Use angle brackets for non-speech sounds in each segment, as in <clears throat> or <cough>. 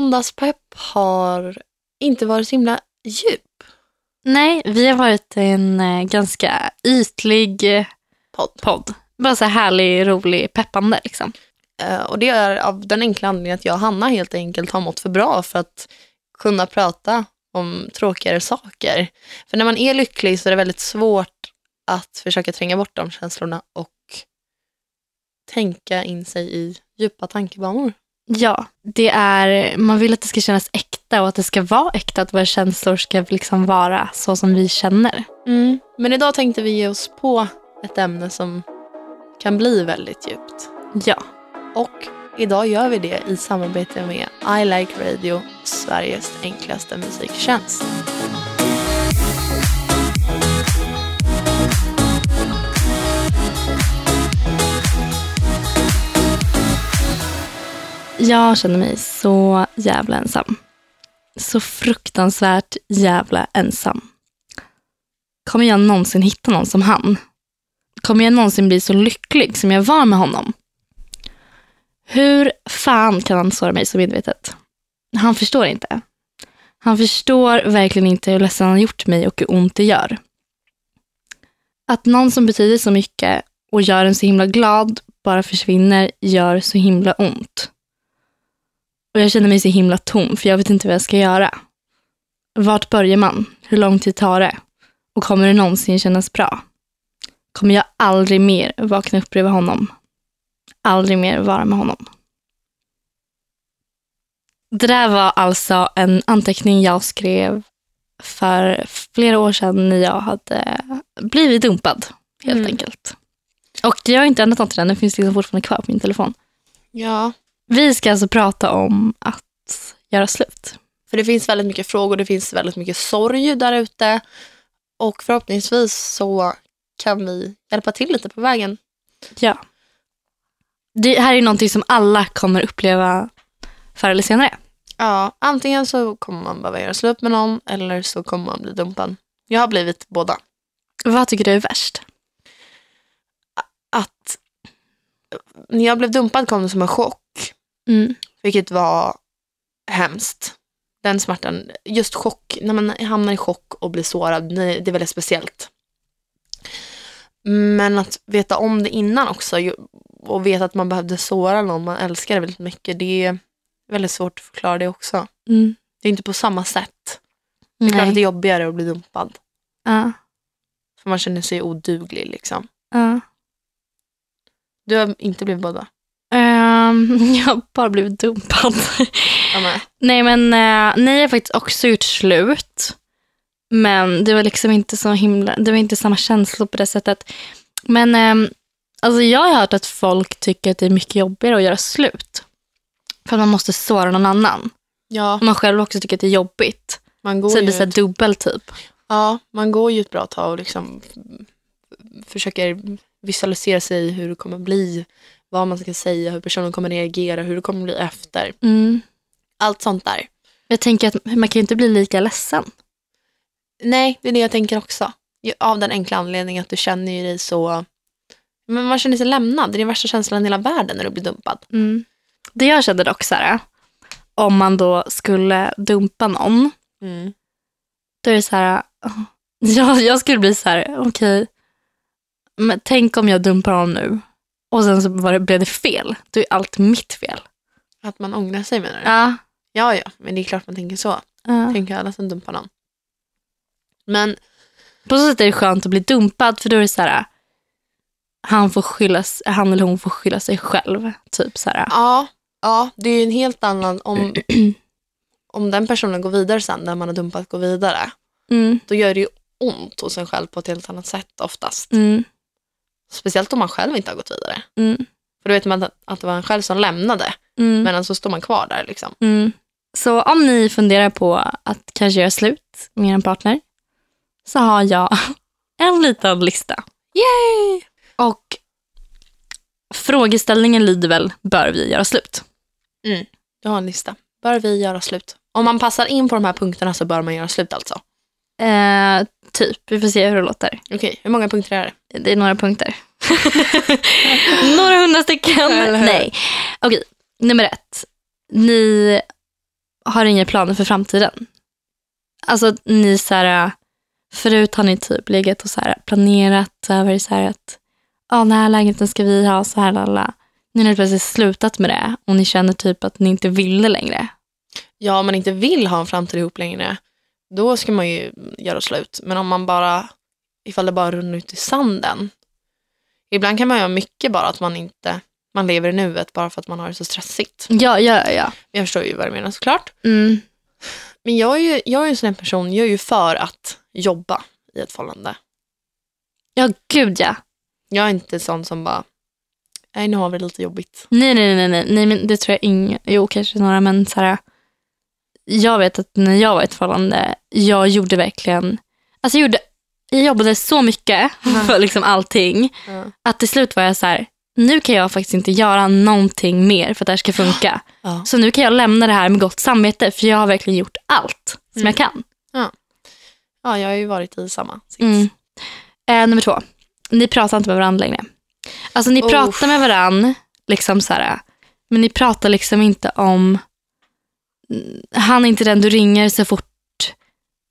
måndagspepp har inte varit så himla djup Nej, vi har varit en eh, ganska ytlig eh, podd. podd. Bara så här härlig, rolig, peppande liksom. Eh, Och det är av den enkla anledningen att jag och Hanna helt enkelt har mått för bra för att kunna prata om tråkigare saker. För när man är lycklig så är det väldigt svårt att försöka tränga bort de känslorna och tänka in sig i djupa tankebanor. Ja, det är, man vill att det ska kännas äkta och att det ska vara äkta. Att våra känslor ska liksom vara så som vi känner. Mm. Men idag tänkte vi ge oss på ett ämne som kan bli väldigt djupt. Ja, Och idag gör vi det i samarbete med I Like Radio, Sveriges enklaste musiktjänst. jag känner mig så jävla ensam. Så fruktansvärt jävla ensam. Kommer jag någonsin hitta någon som han? Kommer jag någonsin bli så lycklig som jag var med honom? Hur fan kan han såra mig så medvetet? Han förstår inte. Han förstår verkligen inte hur ledsen han gjort mig och hur ont det gör. Att någon som betyder så mycket och gör en så himla glad bara försvinner gör så himla ont. Och jag känner mig så himla tom för jag vet inte vad jag ska göra. Vart börjar man? Hur lång tid tar det? Och kommer det någonsin kännas bra? Kommer jag aldrig mer vakna upp bredvid honom? Aldrig mer vara med honom? Det där var alltså en anteckning jag skrev för flera år sedan när jag hade blivit dumpad, helt Mm. enkelt. Och jag har inte ändrat något till den, den finns liksom fortfarande kvar på min telefon. Ja, Vi ska alltså prata om att göra slut. För det finns väldigt mycket frågor, det finns väldigt mycket sorg där ute. Och förhoppningsvis så kan vi hjälpa till lite på vägen. Ja. Det här är ju någonting som alla kommer uppleva förr eller senare. Ja, antingen så kommer man behöva göra slut med någon eller så kommer man bli dumpad. Jag har blivit båda. Vad tycker du är värst? Att när jag blev dumpad kom det som en chock, Mm. vilket var hemskt. Den smärtan, just chock, när man hamnar i chock och blir sårad, nej, det är väldigt speciellt. Men att veta om det innan också ju- och veta att man behövde såra någon man älskade väldigt mycket, det är väldigt svårt att förklara det också. Mm. Det är inte på samma sätt. Det är klart att det Nej. är jobbigare att bli dumpad, Ja. för man känner sig oduglig liksom. Ja. Du har inte blivit båda? Ehm, <laughs> jag har bara blivit dumpad. Jag med. nej, men eh, nej, jag har faktiskt också gjort slut. Men det var liksom inte så himla, det var inte samma känslor på det sättet. Men ehm, alltså jag har hört att folk tycker att det är mycket jobbigare att göra slut. För att man måste såra någon annan. Ja, Om man själv också tycker att det är jobbigt. man går Så det ju blir så här ut- dubbel typ. Ja, man går ju ett bra tag och liksom f- försöker visualisera sig hur det kommer bli, vad man ska säga, hur personen kommer reagera, hur det kommer bli efter. Allt sånt där. Mm. Jag tänker att man kan ju inte bli lika ledsen. Nej, det är det jag tänker också. Ju- Av den enkla anledningen att du känner ju dig så... Men man känner sig lämnad. Det är den värsta känslan i hela världen när du blir dumpad. Mm. Det jag kände dock så här, om man då skulle dumpa någon, då är det så här, <laughs> åh, jag, jag skulle bli så här, okej, men tänk om jag dumpar honom nu och sen så var det, blev det fel, då är allt mitt fel. Att man ångrar sig menar du? Ja. Ja, ja, men det är klart man tänker så. ja. Tänker alla som dumpar någon. Men På så sätt är det skönt att bli dumpad för då är det så här, han, får skylla, s- han eller hon får skylla sig själv. Typ så här. Ja, ja det är ju en helt annan... Om, <clears throat> om den personen går vidare sen, den man har dumpat går vidare, Mm, då gör det ju ont hos en själv på ett helt annat sätt oftast. mm, Speciellt om man själv inte har gått vidare. mm. För då vet man att, att det var en själv som lämnade, Mm. men så står man kvar där. liksom. Mm. Så om ni funderar på att kanske göra slut med er partner så har jag <laughs> en liten lista. Yay! Och frågeställningen lyder väl, bör vi göra slut? Du har en lista. Bör vi göra slut? Om man passar in på de här punkterna så bör man göra slut alltså. Eh, typ, vi får se hur det låter. Okej, hur många punkter är det? Det är några punkter. <laughs> några hundra stycken. Eller hur? Nej. Okej, nummer ett. Ni har inga planer för framtiden. Alltså att ni så här, förut har ni typ legat och så här, planerat över så här att ja, den här lägenheten ska vi ha, så här, lalla. Nu har ni plötsligt slutat med det och ni känner typ att ni inte vill det längre. Ja, om man inte vill ha en framtid ihop längre, då ska man ju göra slut. Men om man bara, ifall det bara runner ut i sanden. Ibland kan man göra mycket bara att man inte, man lever i nuet bara för att man har det så stressigt. Ja, ja, ja. Jag förstår ju vad du menar såklart. Mm. Men jag är ju, jag är ju en sån här person, jag är ju för att jobba i ett förhållande. Ja, gud ja. Jag är inte sån som bara, nej nu har vi det lite jobbigt. Nej, nej, nej, nej, nej, men det tror jag ingen, jo kanske några, men så här, jag vet att när jag var i ett förhållande, jag gjorde verkligen, alltså jag, gjorde, jag jobbade så mycket Mm. för liksom allting, Ja. att till slut var jag så här, nu kan jag faktiskt inte göra någonting mer för att det här ska funka. Ja. Så nu kan jag lämna det här med gott samvete, för jag har verkligen gjort allt som Mm. jag kan. ja, jag har ju varit i samma sits. Mm. Eh, nummer två. Ni pratar inte med varandra längre. Alltså ni Oh. pratar med varandra, liksom så här, men ni pratar liksom inte om... Mm, Han är inte den du ringer så fort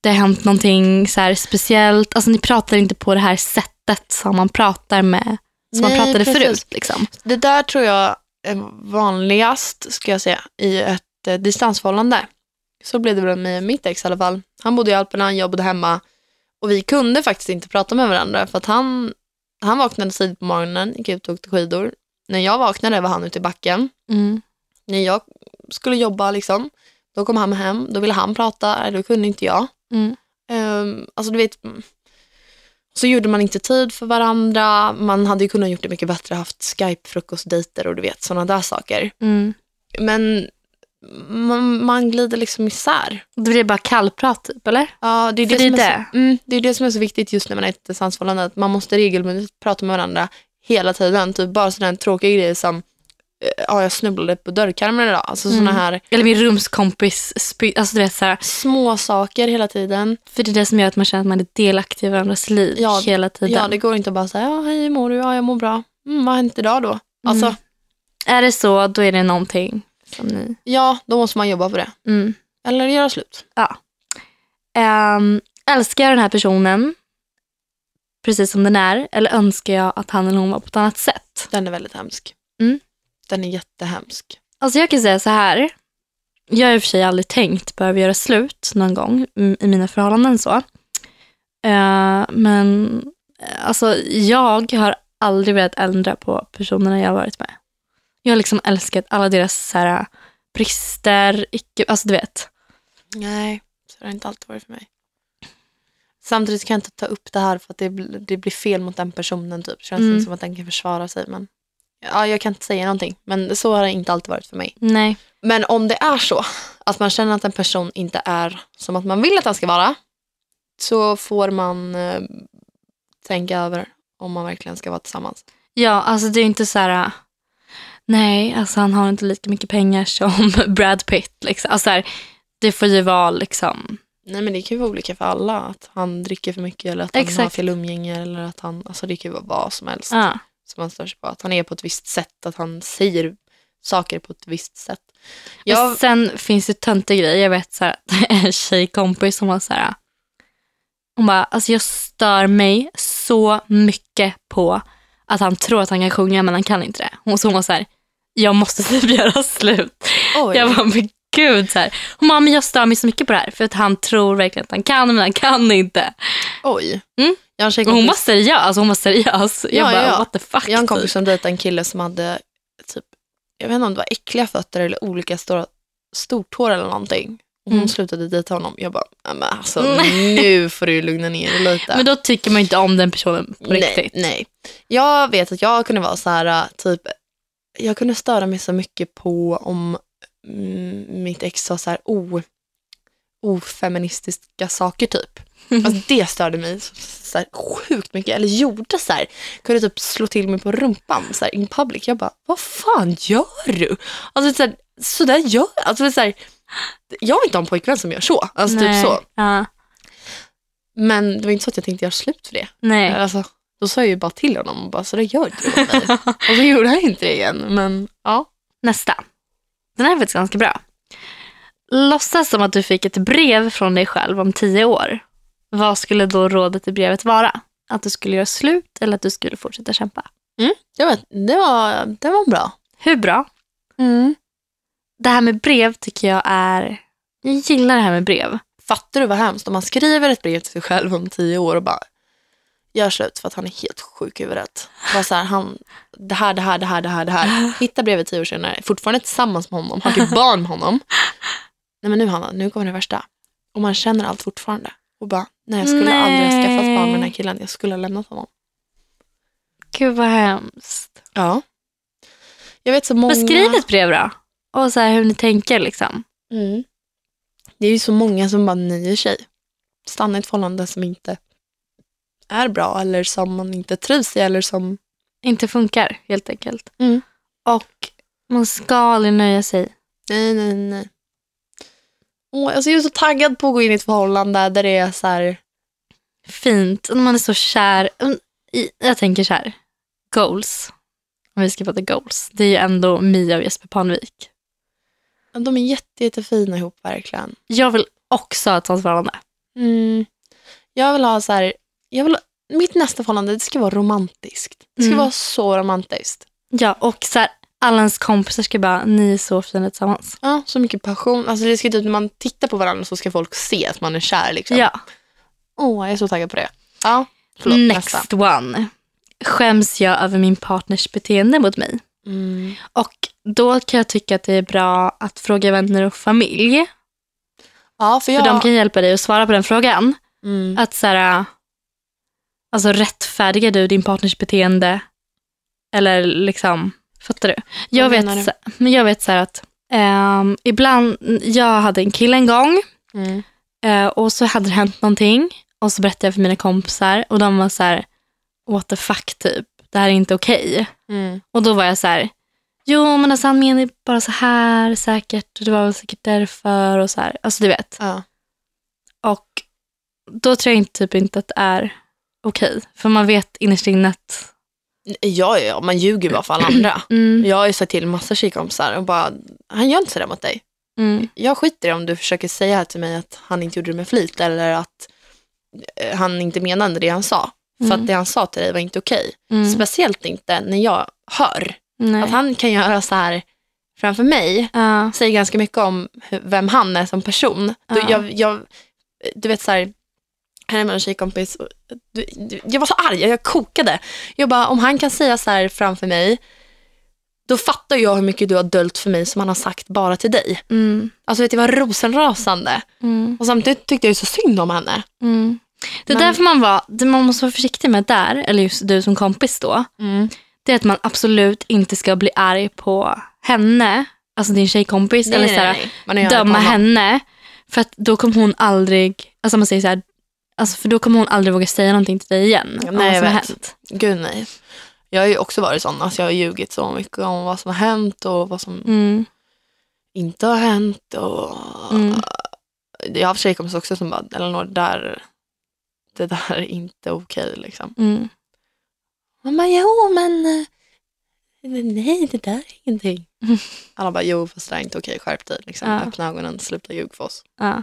det har hänt någonting så här speciellt. Alltså ni pratar inte på det här sättet som man pratar med, som man Nej, pratade precis. förut. Liksom. Det där tror jag är vanligast, ska jag säga, i ett eh, distansförhållande. Så blev det väl med mitt ex i alla fall. Han bodde i Alperna, jag bodde hemma. Och vi kunde faktiskt inte prata med varandra för att han, han vaknade tidigt på morgonen, gick ut och åkte skidor. När jag vaknade var han ute i backen. Mm, När jag skulle jobba, liksom, då kom han hem, då ville han prata, Nej, då kunde inte jag. Mm. Ehm, alltså du vet, mm. så gjorde man inte tid för varandra. Man hade ju kunnat gjort det mycket bättre, haft Skype-frukostdejter och du vet sådana där saker. Mm. Men man, man glider liksom isär. Då blir det bara kallprat typ, eller? Ja, det är För det, det är som det. Är så, mm, det är det som är så viktigt just när man är i ett distansförhållande, att man måste regelbundet prata med varandra hela tiden. Typ bara sådana här tråkiga grejer som, eh, ja jag snubblade på dörrkarmen idag. Alltså Mm. sådana här Eller min rumskompis, spy- alltså du vet så här, små saker hela tiden. För det är det som gör att man känner att man är delaktig i varandras liv Ja, hela tiden. Ja, det går inte att bara säga, ja, hej hur mår du? Ja, jag mår bra. Mm, vad har hänt idag då? Alltså, Mm. Är det så, då är det någonting som ni... ja, då måste man jobba på det. Mm. Eller göra slut. Ehm, älskar jag den här personen precis som den är eller önskar jag att han eller hon var på ett annat sätt? Den är väldigt hemsk. Mm. Den är jättehemsk. Alltså jag kan säga så här. Jag har i och för sig aldrig tänkt behöva göra slut någon gång mm, i mina förhållanden så. Eh, men eh, alltså jag har aldrig velat ändra på personerna jag har varit med. Jag har liksom älskat alla deras så här, brister, icke, alltså du vet. Nej, så har det inte alltid varit för mig. Samtidigt kan jag inte ta upp det här för att det, bl- det blir fel mot den personen. Typ. Känns Mm. inte som att den kan försvara sig. Men... Ja, jag kan inte säga någonting, men så har det inte alltid varit för mig. Nej. Men om det är så att man känner att en person inte är som att man vill att den ska vara så får man eh, tänka över om man verkligen ska vara tillsammans. Ja, alltså det är inte så här. Nej, alltså han har inte lika mycket pengar <laughs> som Brad Pitt. Liksom. Alltså, så här, det får ju vara liksom. Nej men det kan ju vara olika för alla. Att han dricker för mycket eller att han har Exakt. fel umgänge. Eller att han, alltså det kan ju vara vad som helst Ja. som man stör sig på. Att han är på ett visst sätt, att han säger saker på ett visst sätt. Jag... Jag, Och sen finns det töntiga grejer. Jag vet så här, <laughs> att en tjejkompis som var så här. äh, Hon bara, alltså jag stör mig så mycket på att han tror att han kan sjunga men han kan inte det. Hon, så hon var så här, jag måste <laughs> typ göra slut. oj, Jag bara, men gud. Så här. Hon bara, men jag stör mig så mycket på det här för att han tror verkligen att han kan men han kan inte. oj. Mm. Jag har en Och hon tjejkompis- var seriös. Alltså hon var seriös. Jag Ja, bara, ja. what the fuck. Jag har en kompis typ. som dejtade en kille som hade typ, jag vet inte om det var äckliga fötter eller olika stora stortår eller någonting. Och hon Mm. slutade dejta honom. Jag bara, "Ja, men alltså Nej. nu får du lugna ner dig lite. <laughs> Men då tycker man inte om den personen på nej, riktigt. nej. Jag vet att jag kunde vara så här, typ, jag kunde störa mig så mycket på om mm, mitt ex sa så här o, ofeministiska saker typ. <laughs> Alltså det störde mig så, så här, sjukt mycket. Eller gjorde så här. Kunde typ slå till mig på rumpan så här, in public. Jag bara, vad fan gör du? Alltså så, här, så där gör jag. Alltså, så här, jag vill inte ha en pojkvän som gör så. Alltså typ Nej. så. Ja, Men det var inte så att jag tänkte göra slut för det. nej. Alltså, då sa jag ju bara till honom och bara, så där gör du mot <laughs> mig. och så gjorde han inte det igen. Men ja. Nästa. Den här är faktiskt ganska bra. Låtsas som att du fick ett brev från dig själv om tio år. Vad skulle då rådet i brevet vara? Att du skulle göra slut eller att du skulle fortsätta kämpa? Det var, det var, det var bra. Hur bra? Mm. Det här med brev tycker jag är... Jag gillar det här med brev. Fattar du vad hemskt om man skriver ett brev till sig själv om tio år och bara gör slut för att han är helt sjuk i huvudet. Bara så här, han, det här, det här, det här, det här, det här. Hitta brevet tio år senare, fortfarande tillsammans med honom, har typ barn med honom. Nej men nu Hanna, nu kommer det värsta. Och man känner allt fortfarande. Och bara, nej jag skulle aldrig ha skaffat barn med den här killen, jag skulle ha lämnat honom. Gud vad hemskt. Ja. Jag vet så många... Beskriv ett brev då. Och så här hur ni tänker liksom. Mm. Det är ju så många som bara nöjer sig. Stanna i ett förhållande som inte är bra eller som man inte trivs i eller som... Inte funkar helt enkelt. Mm. Och man ska aldrig nöja sig. Nej, nej, nej. Åh, alltså jag är så taggad på att gå in i ett förhållande där det är så här... Fint. Och Man är så kär. Mm, i- Jag tänker så här. Goals. Om vi ska prata goals. Det är ju ändå Mia och Jesper Panvik. De är jätte, jättefina ihop verkligen. Jag vill också ha ett sånt förhållande. Mm. Jag vill ha så här... Jag vill... Mitt nästa förhållande det ska vara romantiskt. Det ska Mm. vara så romantiskt. Ja, och så här, alla ens kompisar ska bara, ni är så fina tillsammans. Ja, så mycket passion. Alltså det ska typ, när man tittar på varandra så ska folk se att man är kär. Liksom. Ja, Åh, jag är så taggad på det. Ja, förlåt. next Nästa. one. Skäms jag över min partners beteende mot mig? Mm. Och då kan jag tycka att det är bra att fråga vänner och familj. Ja, för jag... För de kan hjälpa dig att svara på den frågan. mm. Att så här, alltså rättfärdigar du din partners beteende? Eller liksom, fattar du? Jag Vad vet, menar du? så- men jag vet så här att ehm, ibland, jag hade en kille en gång Mm. Eh, och så hade det hänt någonting och så berättade jag för mina kompisar och de var så här, what the fuck typ, det här är inte okej. Mm. Och då var jag så här, jo men alltså han menar ju bara så här säkert, och det var väl säkert därför och så här, alltså du vet. Ja. Och då tror jag inte, typ inte att det är okej, för man vet innerst inne att, Ja, ja, ja, man ljuger bara för alla andra. mm, Jag har ju sagt till massa tjejkompisar och bara, han gör inte sådär mot dig. mm, Jag skiter i om du försöker säga här till mig att han inte gjorde det med flit eller att eh, han inte menade det han sa. För Mm. att det han sa till dig var inte okej. mm, Speciellt inte när jag hör nej. att han kan göra så här framför mig Ja, säger ganska mycket om hur- vem han är som person. Du, Ja. jag, jag, du vet så här, här är med en tjejkompis. och Du, du, jag var så arg, jag kokade. Jag bara, om han kan säga så här framför mig, då fattar jag hur mycket du har döljt för mig som han har sagt bara till dig. mm, Alltså vet du, det var rosenrasande. mm, Och samtidigt tyckte jag ju så synd om henne. mm. Det är Men- därför man, var, det man måste vara försiktig med där, eller just du som kompis då, det är att man absolut inte ska bli arg på henne, alltså din tjejkompis, Nej, eller nej, så här, nej. Man är ju arg på döma honom. henne. För att då kommer hon aldrig, alltså man säger så här, alltså för då kommer hon aldrig våga säga någonting till dig igen. Ja, om nej, vad som jag har vet. hänt. Gud nej. Jag har ju också varit sån, alltså jag har ljugit så mycket om vad som har hänt och vad som Mm, inte har hänt. Och... mm, jag har haft tjejkompisar också som bara, Elinor, där, det där är inte okej. Liksom. mm. Man bara, jo men eh, nej det där är <laughs> ingenting. Alla bara, jo fast det där är inte okej, skärp dig. Liksom. Ja. Öppna ögonen, sluta ljug för oss. Ja.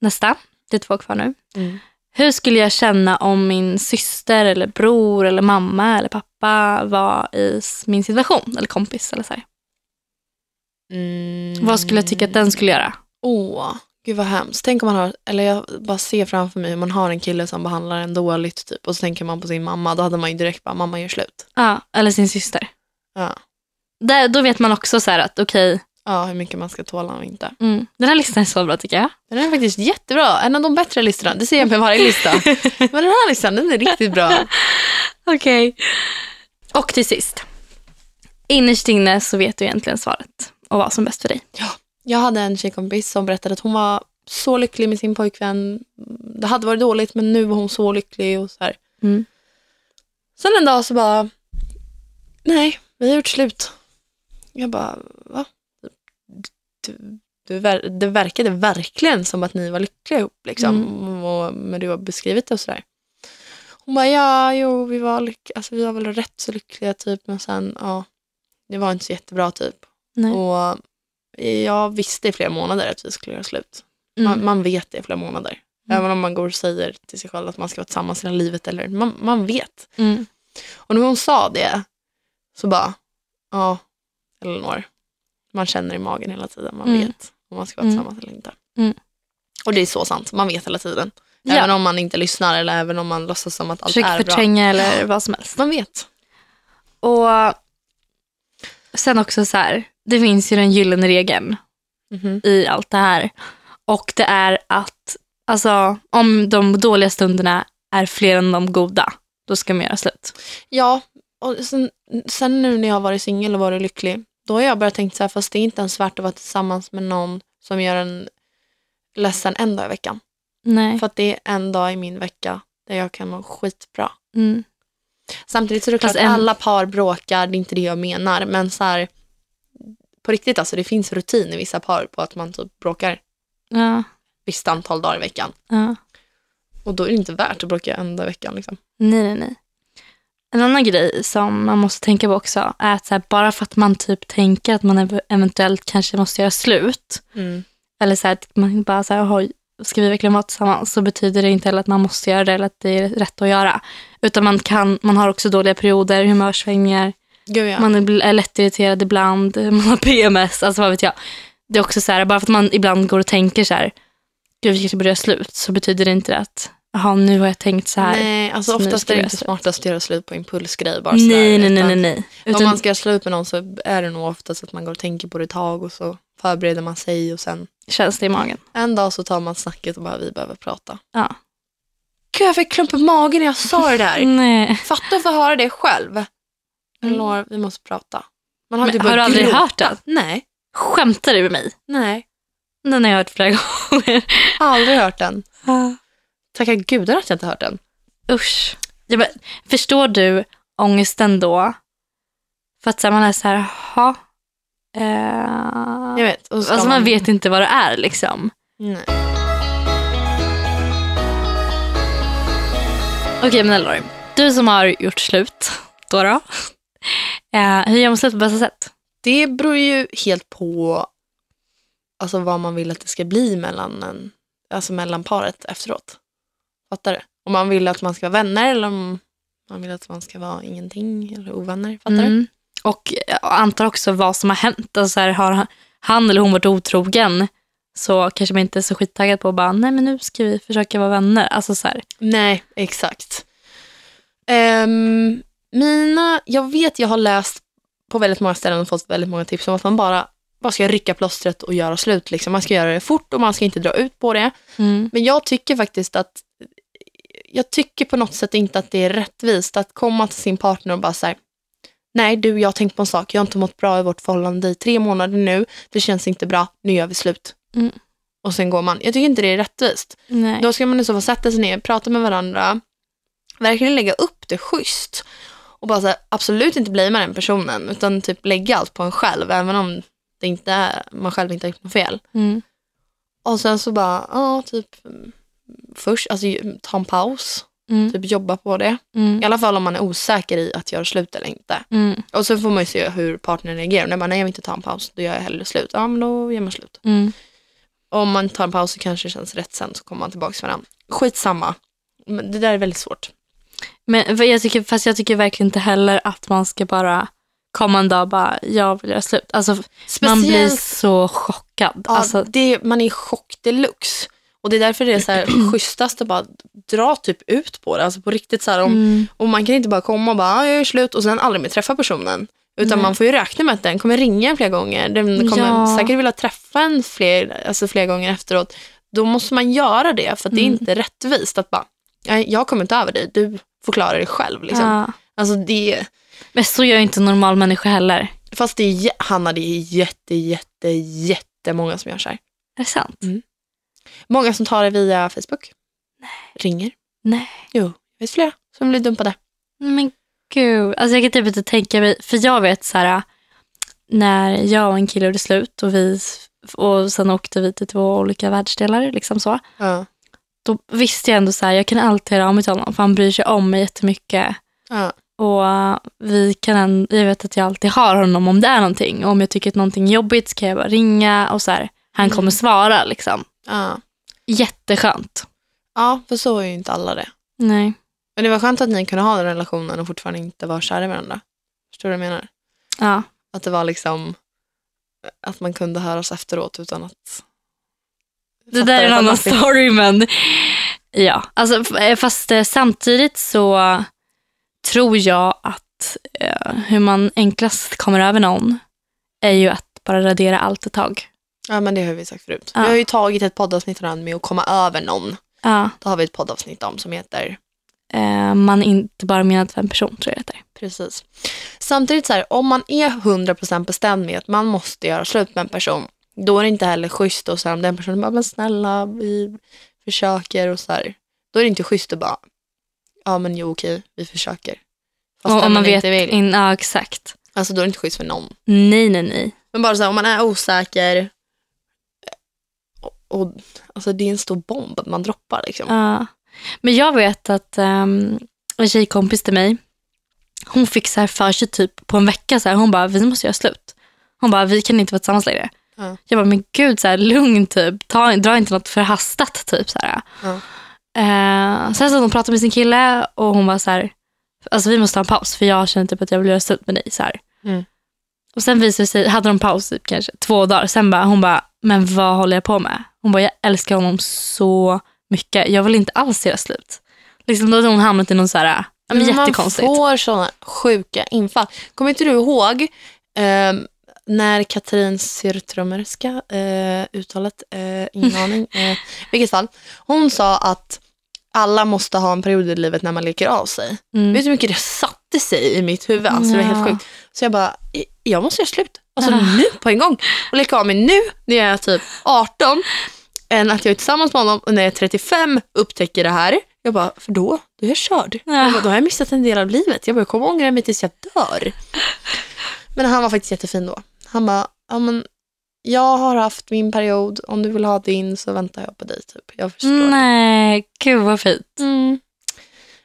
Nästa, det är två kvar nu. Mm. Hur skulle jag känna om min syster, eller bror, eller mamma eller pappa var i s- min situation? Eller kompis eller så här. Mm. Vad skulle jag tycka att den skulle göra? Åh, gud vad hemskt. Tänk om man har, eller jag bara ser framför mig hur man har en kille som behandlar en dåligt typ och så tänker man på sin mamma, då hade man ju direkt bara, mamma gör slut. Ja, eller sin syster. Ja, Där, då vet man också så här att okej, ja hur mycket man ska tåla och inte. mm, den här listan är så bra tycker jag. Den är faktiskt jättebra. En av de bättre listorna. Det ser jag med varje lista. Men den här listan, den är riktigt bra. Okej. Och till sist. Innerst inne så vet du egentligen svaret och vad som är bäst för dig. Jag hade en tjejkompis som berättade att hon var så lycklig med sin pojkvän. Det hade varit dåligt men nu var hon så lycklig och så här. Mm. Sen en dag så bara, nej, vi har gjort slut. Jag bara, va? Du, du, ver- det verkade verkligen som att ni var lyckliga ihop liksom. Och, men du har beskrivit det och sådär. Hon bara, ja, jo, vi var, lyck- alltså, vi var väl Mm. rätt så lyckliga typ, men sen, ja, det var inte så jättebra typ. Nej. Och jag visste i flera månader att vi skulle göra slut. Man, man vet det i flera månader. Mm. Även om man går och säger till sig själv att man ska vara tillsammans hela livet. Eller, man, man vet. Mm. Och när hon sa det så bara, ja, Elinor. Man känner i magen hela tiden. Man Mm. vet om man ska vara Mm. tillsammans eller inte. Mm. Och det är så sant. Man vet hela tiden. Ja. Även om man inte lyssnar eller även om man låtsas som att allt Försök är bra. förtränga eller vad som helst. Man vet. Och sen också så här, det finns ju den gyllene regeln Mhm. i allt det här. Och det är att alltså, om de dåliga stunderna är fler än de goda, då ska man göra slut. Ja, och sen, sen nu när jag har varit singel och varit lycklig, då har jag börjat tänka så här, fast det är inte ens värt att vara tillsammans med någon som gör en ledsen en dag i veckan. Nej. För att det är en dag i min vecka där jag kan må skitbra. Mm. Samtidigt så är det klart Fast en- alla par bråkar, det är inte det jag menar, men så här, på riktigt alltså, det finns rutin i vissa par på att man typ bråkar Ja, visst antal dagar i veckan. ja. Och då är det inte värt att bråka en dag i veckan. Liksom. Nej, nej, nej. En annan grej som man måste tänka på också är att så här, bara för att man typ tänker att man ev- eventuellt kanske måste göra slut, eller så här, att man bara så här, "Oj, ska vi verkligen vara tillsammans? Så betyder det inte heller att man måste göra det eller att det är rätt att göra. Utan man, kan, man har också dåliga perioder, humörsvängningar, Gud ja. man är bl- är lättirriterad ibland, <laughs> man har PMS, alltså vad vet jag. Det är också så här, bara för att man ibland går och tänker så här, gud vi kanske borde göra slut, så betyder det inte att, jaha nu har jag tänkt så här. Nej, alltså Så nu oftast ska är det inte vi göra slut. smartast att göra slut på impulsgrejer bara sådär, Nej, nej, nej, utan- nej, nej. Om Utan, man ska göra slut med någon så är det nog oftast att man går och tänker på det ett tag och så förbereder man sig och sen Känns det i magen? en dag så tar man snacket och bara vi behöver prata. Ja. Gud jag fick klump i magen när jag sa det <laughs> där. Nej. Fatta att få höra det själv. Elinor, vi måste prata. Man Men, typ har du börjat aldrig gråta. hört den? Nej, Skämtar du med mig? nej. Den har jag hört flera <laughs> gånger. Jag har aldrig hört den. Tacka gudarna att jag inte hört den. Usch. Ja, men, förstår du ångesten då? För att så här, man är så här, jaha. Eh, Jag vet. Och ska alltså man vet inte vad det är liksom. Nej. Okej men Elinor, du som har gjort slut då. då <laughs> eh, hur gör man slut på bästa sätt? Det beror ju helt på alltså, vad man vill att det ska bli mellan, en, alltså, mellan paret efteråt. Fattar du? Om man vill att man ska vara vänner eller om man vill att man ska vara ingenting eller ovänner. Fattar du? Mm. Och jag antar också vad som har hänt. Alltså så här, har han eller hon varit otrogen så kanske man inte är så skittaggad på att bara, nej men nu ska vi försöka vara vänner. Alltså så här, Nej, exakt. Ehm, mina, jag vet jag har läst på väldigt många ställen och fått väldigt många tips om att man bara, bara ska rycka plåstret och göra slut. Liksom. Man ska göra det fort och man ska inte dra ut på det. mm. Men jag tycker faktiskt att jag tycker på något sätt inte att det är rättvist att komma till sin partner och bara så här, nej du, jag har tänkt på en sak, jag har inte mått bra i vårt förhållande i tre månader nu, det känns inte bra, nu gör vi slut. Mm. Och sen går man. Jag tycker inte det är rättvist. nej. Då ska man i så fall sätta sig ner, prata med varandra, verkligen lägga upp det schysst och bara så här, absolut inte blamea den personen utan typ lägga allt på en själv även om det inte är, man själv inte har gjort något fel. Mm. Och sen så bara, ja typ mm, först, alltså ju- ta en paus, Mm. typ jobba på det. Mm. I alla fall om man är osäker i att göra slut eller inte. Mm. Och så får man ju se hur partnern reagerar. Om den bara, nej jag vill inte ta en paus, då gör jag hellre slut. Ja men då gör man slut. Mm. Om man tar en paus så kanske det känns rätt sen så kommer man tillbaka till varandra. Skitsamma. Men det där är väldigt svårt. Men för jag tycker, fast jag tycker verkligen inte heller att man ska bara komma en dag och bara, jag vill göra slut. Alltså, man blir så chockad. ja, Alltså, det, man är i chock deluxe. Och det är därför det är så <clears throat> här schysstast att bara dra typ ut på det. Alltså på riktigt så här om mm, Och man kan inte bara komma och bara, "Ah, jag är slut och sen aldrig mer träffa personen. Utan Nej. man får ju räkna med att den kommer ringa flera gånger. Den kommer Ja. säkert vilja träffa en fler, alltså flera gånger efteråt. Då måste man göra det för att det är Mm. inte rättvist att bara, "Nej, jag kommer inte över dig, du får klara dig själv. Liksom. ja. Alltså det, Men så gör ju inte en normal människa heller. fast det är, jä- Hanna, det är jätte, jätte, jättemånga som gör så här. Är det sant? Många som tar det via Facebook. Ringer. Nej. Jo, det finns flera som blir dumpade. Men gud, alltså jag kan typ inte tänka mig, för jag vet så här när jag och en kille gjorde slut och vi och sen åkte vi till två olika världsdelar liksom så. Ja. Då visste jag ändå så här, jag kan alltid höra av mig till honom för han bryr sig om mig jättemycket. Ja. Och vi kan, jag vet att jag alltid har honom om det är någonting. Och om jag tycker att någonting är jobbigt så kan jag bara ringa och så här, han Mm. kommer svara liksom. Ja. Jätteskönt. ja, för så är ju inte alla det. Nej. Men det var skönt att ni kunde ha den relationen och fortfarande inte vara kära i varandra. Förstår du vad jag menar? Ja. Att det var liksom att man kunde höras efteråt utan att... Det där är en Fattar att man annan fick- story men ja. Alltså, f- eh, fast eh, samtidigt så tror jag att eh, hur man enklast kommer över någon är ju att bara radera allt ett tag. Ja, men det har vi sagt förut. Ja. Vi har ju tagit ett poddavsnitt redan med att komma över någon. Ja. Det har vi ett poddavsnitt om som heter Eh, man är inte bara menad för en person tror jag det heter. Precis. Samtidigt så här, om man är 100% bestämd med att man måste göra slut med en person, då är det inte heller schysst och så här, om den personen bara, men snälla, vi försöker och så här. Då är det inte schysst att bara, ja men jo okej, vi försöker. Fast Om- den om man vet inte vill. in, ja, exakt. Alltså då är det inte schysst för någon. Nej, nej, nej. Men bara så här, om man är osäker, eh, och, och, alltså det är en stor bomb att man droppar liksom. Ja. Men jag vet att ehm, en tjejkompis till mig, hon fick så här för sig typ på en vecka, så här, hon bara, vi måste göra slut. Hon bara, vi kan inte vara tillsammans längre. Ja. Jag bara, men gud, så här, lugn typ, Ta, dra inte något förhastat typ. Så här. Ja. Eh, sen så hon pratade med sin kille och hon var så här, alltså vi måste ha en paus för jag känner typ att jag vill göra slut med dig. Så här. Mm. Och sen visade det sig, hade de paus typ kanske två dagar, sen bara, hon bara, men vad håller jag på med? Hon bara, jag älskar honom så mycket, jag vill inte alls göra slut. Liksom då hade hon hamnat i någon så här, ja, men jättekonstigt. Alltså, Man får sådana sjuka infall. Kommer inte du ihåg ehm, när Katrin Syrtrömmerska, eh, uttalet, eh, <laughs> ingen aning, eh, i vilket fall, hon sa att alla måste ha en period i livet när man leker av sig. Mm. Vet du hur mycket det satte sig i mitt huvud? Alltså, Det var helt Ja. sjukt. Så jag bara, "I- jag måste göra slut. Alltså Ah. nu på en gång. Och leka av mig nu när jag är typ 18 än att jag är tillsammans med honom och när jag är 35 upptäcker det här. Jag bara, för då, då är jag körd. Jag bara, då har jag missat en del av livet. Jag bara, jag kommer ångra mig tills jag dör. Men han var faktiskt jättefin då. Han bara, ja men jag har haft min period. Om du vill ha din så väntar jag på dig. Typ. Jag förstår. Nej, gud vad fint. Mm.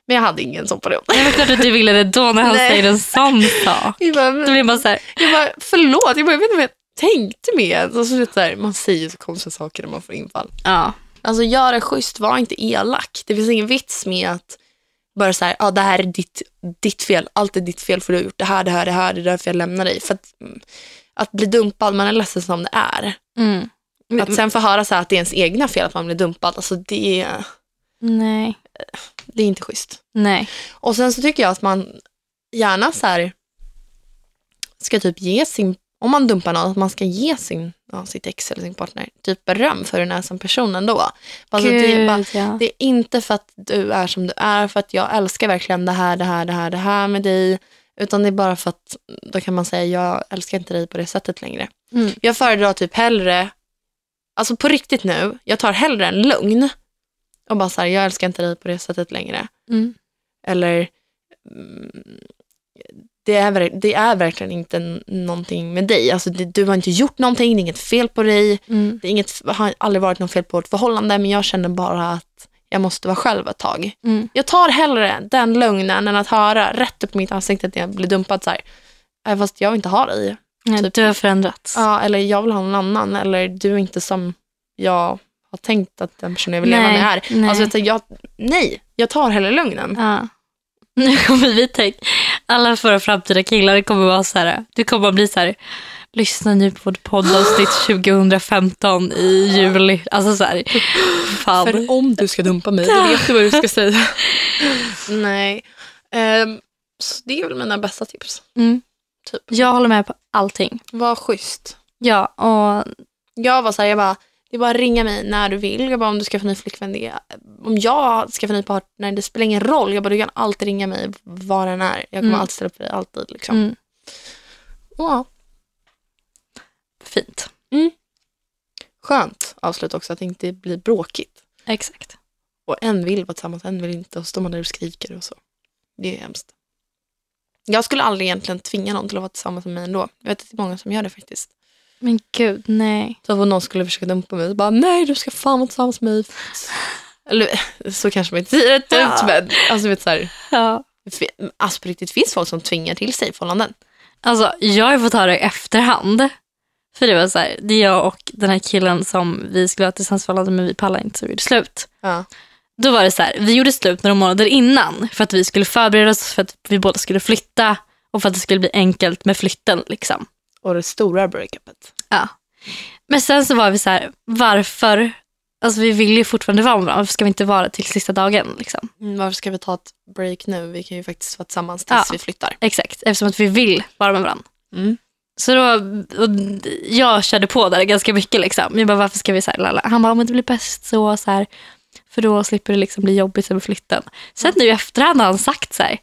Men jag hade ingen sån period. Det var klart att du ville det då när han Nej. säger en sån sak. Jag bara, Då men- blir man så här, Jag bara, förlåt, jag, bara, jag vet inte vad jag tänkte med. Alltså, så det så här, man säger så konstiga saker när man får infall. ja. Alltså gör det schysst, var inte elak. Det finns ingen vits med att bara så här, ja det här är ditt, ditt fel, allt är ditt fel för du har gjort det här, det här, det här, det är därför jag lämnar dig. För att, mm, att bli dumpad, man är ledsen som det är. Mm. Att sen få höra så här att det är ens egna fel att man blir dumpad, alltså det, är- Nej. det är inte schysst. Nej. Och sen så tycker jag att man gärna så här ska typ ge sin, om man dumpar någon, att man ska ge sin, ja, sitt ex eller sin partner typ beröm för hur den är som person ändå. Alltså det, är bara, Gud, ja. det är inte för att du är som du är, för att jag älskar verkligen det här, det här, det här, det här med dig. Utan det är bara för att då kan man säga jag älskar inte dig på det sättet längre. Mm. Jag föredrar typ hellre, alltså på riktigt nu, jag tar hellre en lugn och bara så här, jag älskar inte dig på det sättet längre. Mm. Eller mm, det är, ver- det är verkligen inte n- någonting med dig. Alltså, det, du har inte gjort någonting, det är inget fel på dig. Mm. Det är inget, har aldrig varit något fel på vårt förhållande men jag känner bara att jag måste vara själv ett tag. Mm. Jag tar hellre den lögnen än att höra rätt upp i mitt ansikte att jag blir dumpad så här. "Äh, Fast jag vill inte ha dig. Ja, typ- Du har förändrats. Ja, eller jag vill ha någon annan. Eller du är inte som jag har tänkt att den personen jag vill leva Nej, med är. nej. Alltså, jag, tänker, jag, nej, jag tar hellre lögnen. Ja. Nu kommer vi tänka, alla våra framtida killar kommer vara så här, du kommer bli så här, lyssna nu på vårt <gasps> poddavsnitt 2015 i juli. Alltså så här, fan. För om du ska dumpa mig, då vet du vad du <laughs> ska säga. Nej. Ehm, så det är väl mina bästa tips. Mm. Typ. Jag håller med på allting. Var schysst. Ja, och Jag var så här, jag bara, det är bara att ringa mig när du vill. Jag bara, om du ska få ny flickvän, det är, om jag ska få ny partner, det spelar ingen roll. Jag bara, du kan alltid ringa mig var den är. Jag kommer Mm. alltid ställa upp för dig, alltid. Liksom. mm, Ja, fint. skönt avslut också, att det inte blir bråkigt. Exakt. Och en vill vara tillsammans, en vill inte. Och så står man där och skriker och så. Det är hemskt. Jag skulle aldrig egentligen tvinga någon till att vara tillsammans med mig ändå. Jag vet att det är många som gör det faktiskt. Men gud, nej. Så om någon skulle försöka dumpa mig, så bara nej du ska fan vara tillsammans med mig. Eller så kanske man inte säger rätt ut, Ja. men alltså vet så här, Ja. det fi- alltså på riktigt finns folk som tvingar till sig förhållanden. Alltså, jag har ju fått höra i efterhand. För det var så här, det är jag och den här killen som vi skulle ha ett distansförhållande men vi pallade inte så vi gjorde slut. Ja. Då var det så här, vi gjorde slut några månader innan för att vi skulle förbereda oss för att vi båda skulle flytta och för att det skulle bli enkelt med flytten. Liksom. Och det stora breakupet. Men sen så var vi så här, varför? Alltså vi vill ju fortfarande vara med varandra, varför ska vi inte vara det till sista dagen? Liksom? Mm, varför ska vi ta ett break nu? Vi kan ju faktiskt vara tillsammans tills Ja. vi flyttar. Exakt, eftersom att vi vill vara med varandra. Mm. Så då, och jag körde på där ganska mycket. Liksom. Jag bara, varför ska vi så här, lala? Han bara, om det blir bäst så, så här, för då slipper det liksom bli jobbigt med flytten. Sen nu i efterhand har han sagt så här,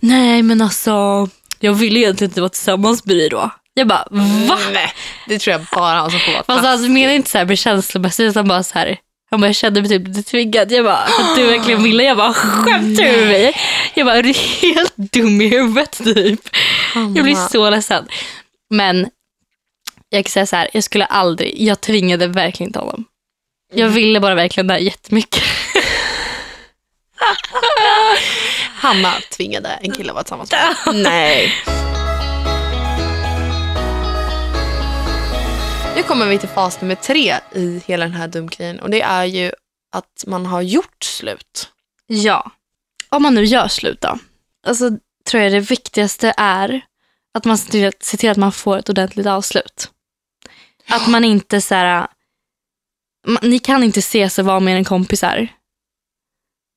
nej men alltså, jag ville egentligen inte vara tillsammans med dig då. Jag bara, va? Nej, det tror jag bara han som får vara Fast alltså, fast. han menar inte så här med känslomässigt, utan bara så här, han bara, jag kände mig typ lite tvingad. Jag bara, för att du verkligen ville. Jag bara, skämtar du med mig? Jag bara, är du helt dum i huvudet typ? Jag blir så ledsen. Men jag kan säga så här, jag skulle aldrig, jag tvingade verkligen inte honom. Jag ville bara verkligen det här jättemycket. Hanna tvingade en kille att vara tillsammans med. Nej. Nu kommer vi till fas nummer tre i hela den här dumkrigen och det är ju att man har gjort slut. Ja. Om man nu gör slut då. Alltså tror jag det viktigaste är att man ser till- ser till att man får ett ordentligt avslut. Att man inte så här, ma- ni kan inte ses och vara mer än kompisar.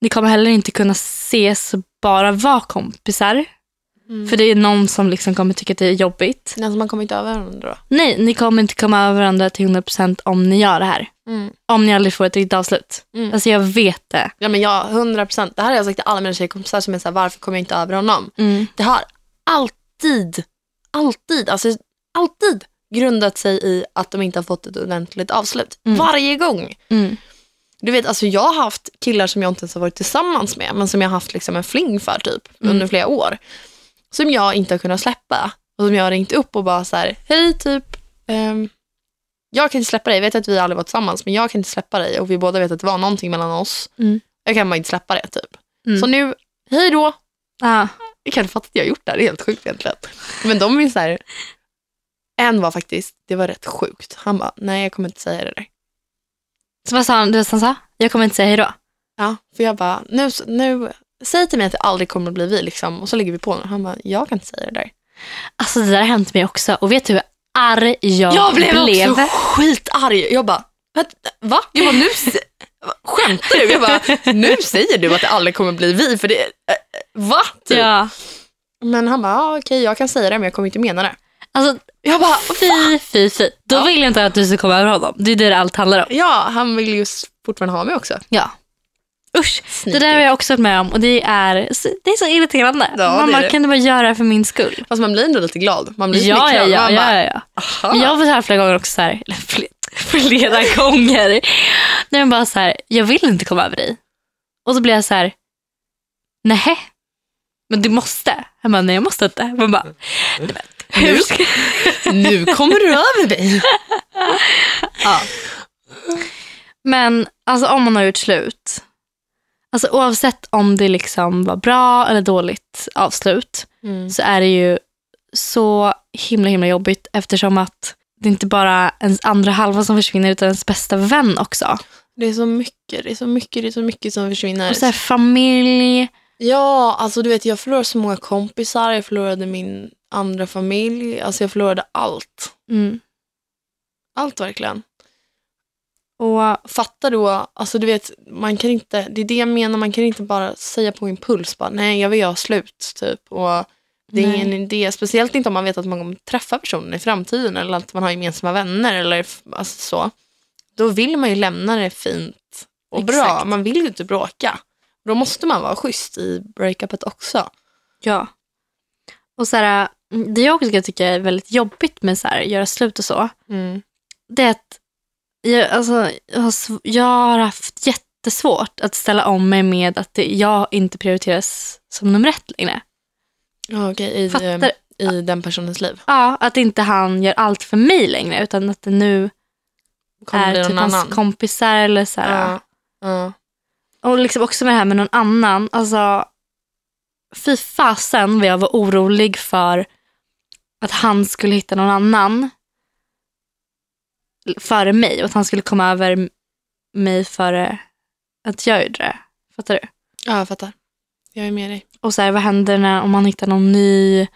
Ni kommer heller inte kunna ses och bara vara kompisar. För För det är någon som liksom kommer tycka att det är jobbigt. det, alltså, man kommer inte över varandra då. Nej, ni kommer inte komma över varandra till 100% om ni gör det här. Om ni aldrig får ett riktigt avslut. Mm. Alltså jag vet det. Ja, men jag, 100 procent. Det här har jag sagt till alla mina tjejkompisar som är så här, varför kommer jag inte över honom? Det har alltid, alltid, alltså alltid grundat sig i att de inte har fått ett ordentligt avslut. Mm. Varje gång. Mm. Du vet, alltså jag har haft killar som jag inte ens har varit tillsammans med, men som jag har haft liksom en fling för typ Mm. under flera år. Som jag inte har kunnat släppa. Och som jag har ringt upp och bara så här, hej typ, ehm, jag kan inte släppa dig. Jag vet att vi aldrig varit tillsammans, men jag kan inte släppa dig. Och vi båda vet att det var någonting mellan oss. Mm. Jag kan bara inte släppa det typ. Mm. Så nu, hej då. Ja. Jag kan inte fatta att jag har gjort det här, det är helt sjukt egentligen. Men de är ju så här, en var faktiskt, det var rätt sjukt. Han bara, nej jag kommer inte säga det där. Så vad sa han? Du vet vad han sa? Jag kommer inte säga hejdå. Ja, för jag bara, nu, nu, säg till mig att det aldrig kommer att bli vi liksom, och så lägger vi på honom. Han bara, jag kan inte säga det där. Alltså det där har hänt mig också. Och vet du hur arg jag, också skitarg. Jag bara, "Vänta, va? Jag bara, nu, se- skämtar du? Jag bara, nu säger du att det aldrig kommer att bli vi, för det, äh, va? Typ. Ja. Men han bara, ah, okej jag kan säga det men jag kommer inte mena det. Alltså Jag bara, fy, fy, fy. Då Ja. vill jag inte att du ska komma över honom. Det är det allt handlar om. ja han vill ju fortfarande ha mig också. Ja. Usch. Det där har jag också varit med om och det är, så- det är så irriterande. Ja, det Man är bara, det. kan du bara göra det för min skull? Fast man blir ändå lite glad. Man blir Ja, ja, smickrad. ja, Man ja, bara, ja, ja. "Aha." Men jag har fått höra flera gånger också så här, eller fler, flera <laughs> gånger, när de bara så här, jag vill inte komma över dig. Och så blir jag så här, nej men du måste. Han bara, nej jag måste inte. Man bara, "Nej, men hur ska... Nu kommer du över mig. Men alltså om man har gjort slut, alltså oavsett om det liksom var bra eller dåligt avslut, så är det ju så himla himla jobbigt eftersom att det inte bara ens andra halva som försvinner utan ens bästa vän också. Det är så mycket, det är så mycket, det är så mycket som försvinner. Och så här, familj, Ja, alltså du vet jag förlorade så många kompisar, jag förlorade min andra familj, alltså jag förlorade allt. Mm. Allt verkligen. Och, Fatta då, alltså du vet, man kan inte, det är det jag menar, man kan inte bara säga på impuls bara nej jag vill göra slut typ. Och det är Nej. ingen idé, speciellt inte om man vet att man kommer träffa personen i framtiden eller att man har gemensamma vänner eller f- alltså så. Då vill man ju lämna det fint och bra, Exakt. man vill ju inte bråka. Då måste man vara schysst i breakupet också. ja. och så här, mm, det jag också kan tycka är väldigt jobbigt med så här, göra slut och så, det är att jag, alltså, jag, har, sv- jag har haft jättesvårt att ställa om mig med att det, jag inte prioriteras som nummer ett längre. Ja, okej, i, Fattar- eh, i den personens liv. Ja, att inte han gör allt för mig längre utan att det nu Kommer är det typ någon hans annan? kompisar eller så här. Ja, ja. Och liksom också med det här med någon annan. Alltså, fy fasen vad jag var orolig för att han skulle hitta någon annan före mig och att han skulle komma över m- mig före att jag gjorde det. Fattar du? Ja, jag fattar. Jag är med dig. Och så här, vad händer när, om han hittar någon ny?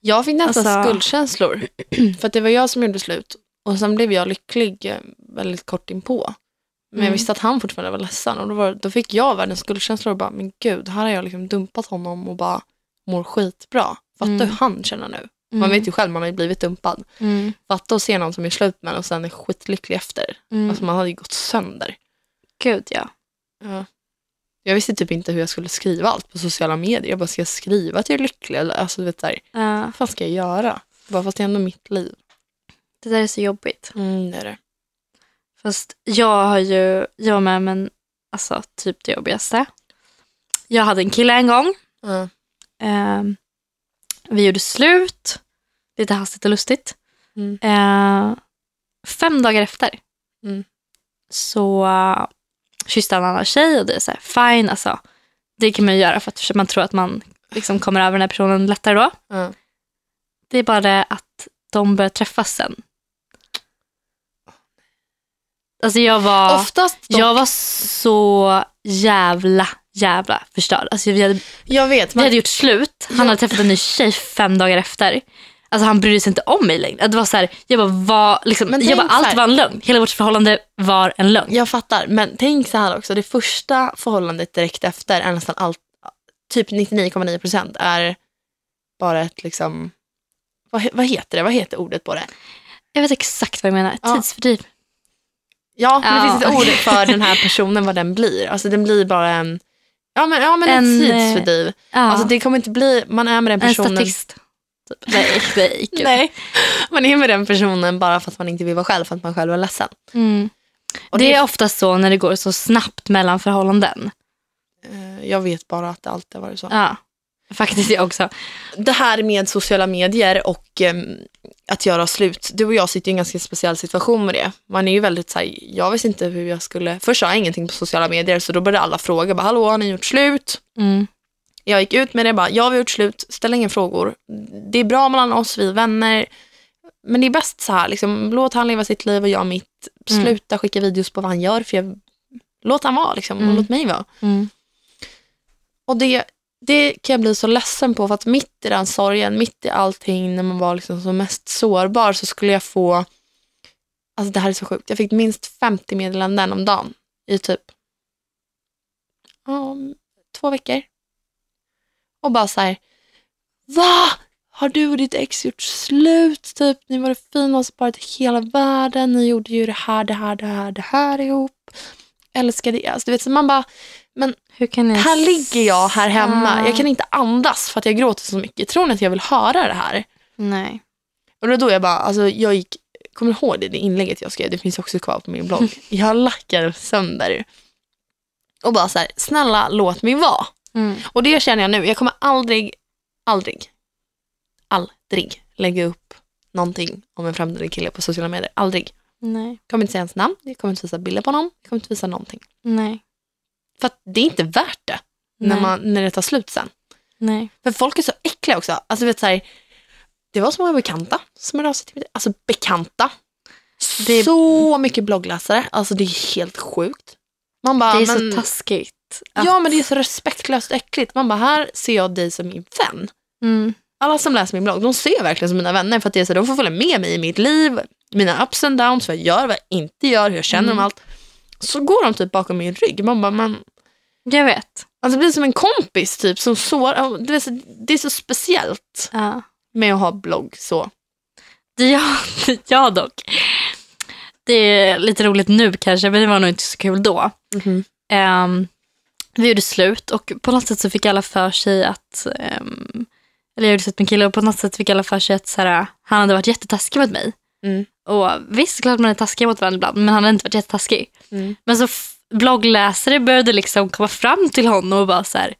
Jag fick nästan Alltså- <clears throat> skuldkänslor. För att det var jag som gjorde slut. Och sen blev jag lycklig eh, väldigt kort inpå. Men jag Mm. visste att han fortfarande var ledsen. Och då, var, då fick jag världens skuldkänslor och bara, men gud, här har jag liksom dumpat honom och bara mår skitbra. Fatta Mm. hur han känner nu. Man vet ju själv, man har ju blivit dumpad. Mm. Fatta att se någon som är slut med en och sen är skitlycklig efter. Mm. Alltså man hade ju gått sönder. Gud ja. Jag visste typ inte hur jag skulle skriva allt på sociala medier. Jag bara, ska jag skriva att jag är lycklig? Eller, alltså du vet så här, Ja, vad fan ska jag göra? Bara, fast det är ändå mitt liv. det där är så jobbigt. Mm, det är det. Fast jag har ju, jag var med men alltså typ det jobbigaste. Jag hade en kille en gång. Ja. Ehm, vi gjorde slut, lite hastigt och lustigt. Mm. Ehm, fem dagar efter Mm. så uh, kysste han en annan tjej och det är så här, fine, alltså. Det kan man ju göra för att man tror att man liksom kommer över den här personen lättare då. Ja. Det är bara det att de börjar träffas sen. Alltså jag var... Oftast dock, Jag var så jävla, jävla förstörd. Alltså vi, hade, jag vet, vi men hade gjort slut. Han hade träffat en ny tjej fem dagar efter. Alltså han brydde sig inte om mig längre. Det var så här, jag bara, var, liksom, Men jag tänk bara så allt här- var en lögn. Hela vårt förhållande var en lögn. jag fattar. Men tänk så här också, det första förhållandet direkt efter är nästan allt, typ 99,9 procent är bara ett liksom, vad, he- vad heter det, vad heter ordet på det? Jag vet exakt vad jag menar. Ja. Tidsfördriv. Ja, men det Ja, finns ett okej. ord för den här personen, vad den blir. Alltså den blir bara en, ja men, ja, men En, en eh, tidsfördriv. Ja. Alltså det kommer inte bli, man är med den en personen. statist. typ. Nej, nej, gud. Nej, <laughs> man är med den personen bara för att man inte vill vara själv, för att man själv är ledsen. Mm. Och det det- är ofta så när det går så snabbt mellan förhållanden. Eh, Jag vet bara att det alltid har varit så. Ja. Faktiskt jag också. det här med sociala medier och em, att göra slut. Du och jag sitter ju i en ganska speciell situation med det. Man är ju väldigt så här, jag visste inte hur jag skulle, först sa jag ingenting på sociala medier så då började alla fråga, bara hallå har ni gjort slut? Mm. Jag gick ut med det bara, jag har gjort slut, ställ inga frågor. Det är bra mellan oss, vi är vänner. Men det är bäst så här, liksom, låt han leva sitt liv och jag mitt. Mm. Sluta skicka videos på vad han gör, för jag, låt han vara liksom, Mm. och låt mig vara. Mm. Och det, det kan jag bli så ledsen på för att mitt i den sorgen, mitt i allting när man var liksom som mest sårbar så skulle jag få, alltså det här är så sjukt, jag fick minst 50 meddelanden om dagen i typ ja, två veckor. Och bara så här, va? Har du och ditt ex gjort slut? Typ, ni var det finaste paret i hela världen. Ni gjorde ju det här, det här, det här, det här ihop. Älskade er. Alltså, du vet, så man bara, Hur kan ni... här ligger jag här hemma. Ah. Jag kan inte andas för att jag gråter så mycket. Tror ni att jag vill höra det här? Nej. Och då, då jag bara, alltså jag gick, kommer du ihåg det, det inlägget jag skrev? Det finns också kvar på min blogg. Jag lackade sönder. Och bara så här, snälla låt mig vara. Mm. Och det känner jag nu, jag kommer aldrig, aldrig, aldrig lägga upp någonting om en framtida kille på sociala medier. Aldrig. Nej. Jag kommer inte säga hans namn, jag kommer inte visa bilder på honom, jag kommer inte visa någonting. Nej. För att det är inte värt det när, Nej. man, när det tar slut sen. Nej. För folk är så äckliga också. Alltså, du vet, så här, det var så många bekanta som hörde av sig till mig. Alltså bekanta. Det är- Så mycket bloggläsare. Alltså det är helt sjukt. Man bara, det är men, så taskigt. att- Ja men det är så respektlöst och äckligt. Man bara, här ser jag dig som min vän. Mm. Alla som läser min blogg, de ser jag verkligen som mina vänner. För att det är så, här, de får följa med mig i mitt liv. Mina ups and downs, vad jag gör, vad jag inte gör, hur jag känner om Mm. allt. Så går de typ bakom min rygg. Man bara, men Jag vet. Alltså det blir som en kompis typ som sårar. Det är så, det är så speciellt Ja. med att ha blogg så. Det <laughs> jag, jag dock. Det är lite roligt nu kanske, men det var nog inte så kul då. Mhm. Ehm, vi gjorde slut och på något sätt så fick alla för sig att... ehm, eller jag gjorde slut med en kille och på något sätt fick alla för sig att så här, han hade varit jättetaskig mot mig. Mm. Och visst, klart man är taskig mot varandra ibland, men han hade inte varit jättetaskig. Mm. Men så f- bloggläsare började liksom komma fram till honom och bara <gasps> så här,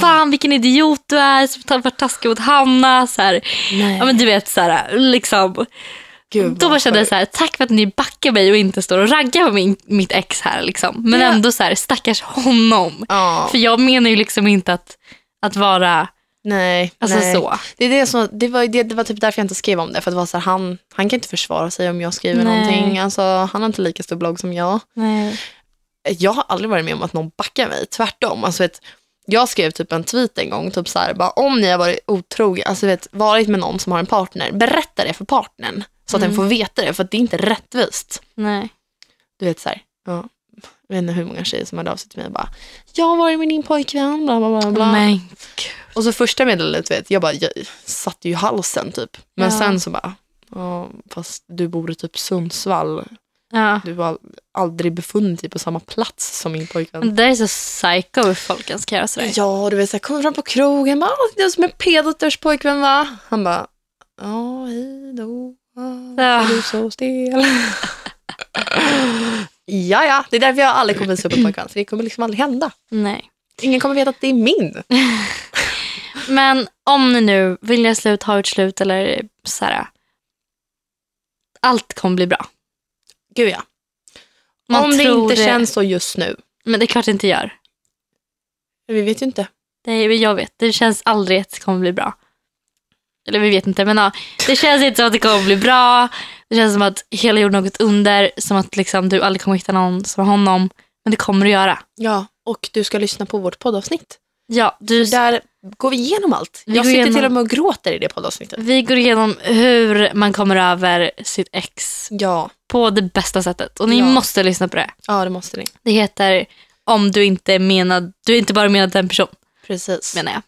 fan vilken idiot du är som har varit taskig mot Hanna. Så här, Nej. ja, men du vet, så här, liksom. Gud, Då bara vad kände jag sjukt. så här, tack för att ni backar mig och inte står och raggar på min, mitt ex här. Liksom. Men Ja. ändå så här, stackars honom. Ja. För jag menar ju liksom inte att Att vara, Nej, alltså nej. så. Det, är det, som, det, var, det, det var typ därför jag inte skrev om det. För att det var så här, han, han kan inte försvara sig om jag skriver Nej. någonting. Alltså, han har inte lika stor blogg som jag. Nej. Jag har aldrig varit med om att någon backar mig. Tvärtom. Alltså, vet, jag skrev typ en tweet en gång. Typ så här, bara, om ni har varit otrogen, alltså, vet, varit med någon som har en partner, berätta det för partnern. Så att Mm. den får veta det. För att det är inte rättvist. Nej. du vet så här, ja, jag vet inte hur många tjejer som hade av sig till mig och bara, jag har varit med din pojkvän, bla bla bla. bla. Men Och så första meddelandet, du vet, jag bara, jag satte ju i halsen typ. Men Ja. sen så bara, ja, fast du bor i typ Sundsvall. ja. Du har aldrig befunnit dig på samma plats som min pojkvän. Men Det där är så psycho hur folk ens kan göra sådär. Ja, du vet, så här, kommer fram på krogen, bara, "Åh, det är som en pedoters pojkvän va? Han bara, ja, hej då. Ja. Varför är du så stel? ja, ja, det är därför jag aldrig kommer visa upp en pojkvän. För det kommer liksom aldrig hända. Nej. Ingen kommer veta att det är min. Men om ni nu vill göra slut, ha ett slut eller så här. Allt kommer bli bra. Gud ja. Man Om det tror inte känns så just nu. Men det är klart det inte gör. Vi vet ju inte. Det är, jag vet, det känns aldrig att det kommer bli bra. Eller vi vet inte, men ja, det känns inte som att det kommer bli bra. Det känns som att hela jorden har gått under. Som att liksom, du aldrig kommer hitta någon som honom. Men det kommer du göra. Ja, och du ska lyssna på vårt poddavsnitt. Ja, du, Där går vi igenom allt. Vi jag går sitter igenom- till och med och gråter i det poddavsnittet. vi går igenom hur man kommer över sitt ex Ja, på det bästa sättet. Och ni Ja. måste lyssna på det. ja det måste ni. Det heter Om du inte är menad, du är inte bara menad till en person, Precis. menar jag.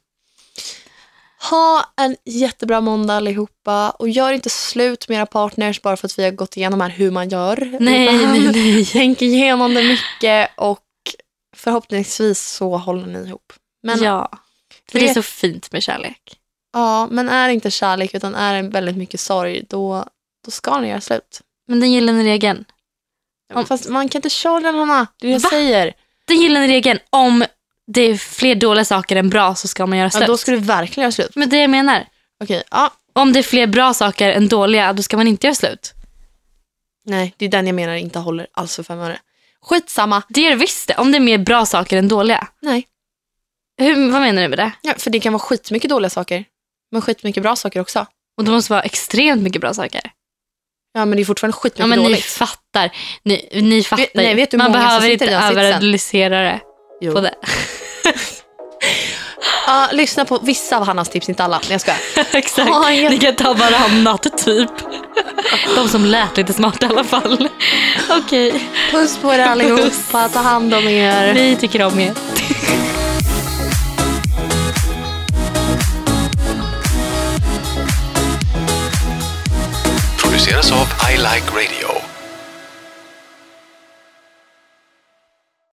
Ha en jättebra måndag allihopa. Och gör inte slut med era partners bara för att vi har gått igenom här hur man gör. Nej, Utan nej, nej. <laughs> Tänk igenom det mycket och förhoppningsvis så håller ni ihop. Men ja. För Det- det är så fint med kärlek. Ja, men är det inte kärlek utan är det väldigt mycket sorg, då, då ska ni göra slut. Men den gyllene regeln. Om- Fast man kan inte köra den, Hanna. Det är det jag Va? säger. Den gyllene regeln, om det är fler dåliga saker än bra så ska man göra slut. Ja, då ska du verkligen göra slut. Men det jag menar, Okej, ja. om det är fler bra saker än dåliga, då ska man inte göra slut. Nej, det är den jag menar inte håller alls för fem öre. Skitsamma. Det gör det visst det, om det är mer bra saker än dåliga. Nej, Hur, vad menar du med det? ja, för det kan vara skitmycket dåliga saker. Men skitmycket bra saker också. Och det måste vara extremt mycket bra saker. Ja, men det är fortfarande skitmycket Ja, men ni dåligt. fattar. Ni, ni fattar nej, ju. vet du hur Man många som behöver sitter inte i den sitsen? överanalysera det Jo. på det. <laughs> Ja, lyssna på vissa av Hannas tips, inte alla. Nej, jag skojar. Exakt. Ja, jag- Ni kan ta varannat typ. De som lät lite smarta i alla fall. <laughs> Okej, <laughs> Puss på er allihopa. Ta hand om er. vi tycker om er. produceras av I Like Radio.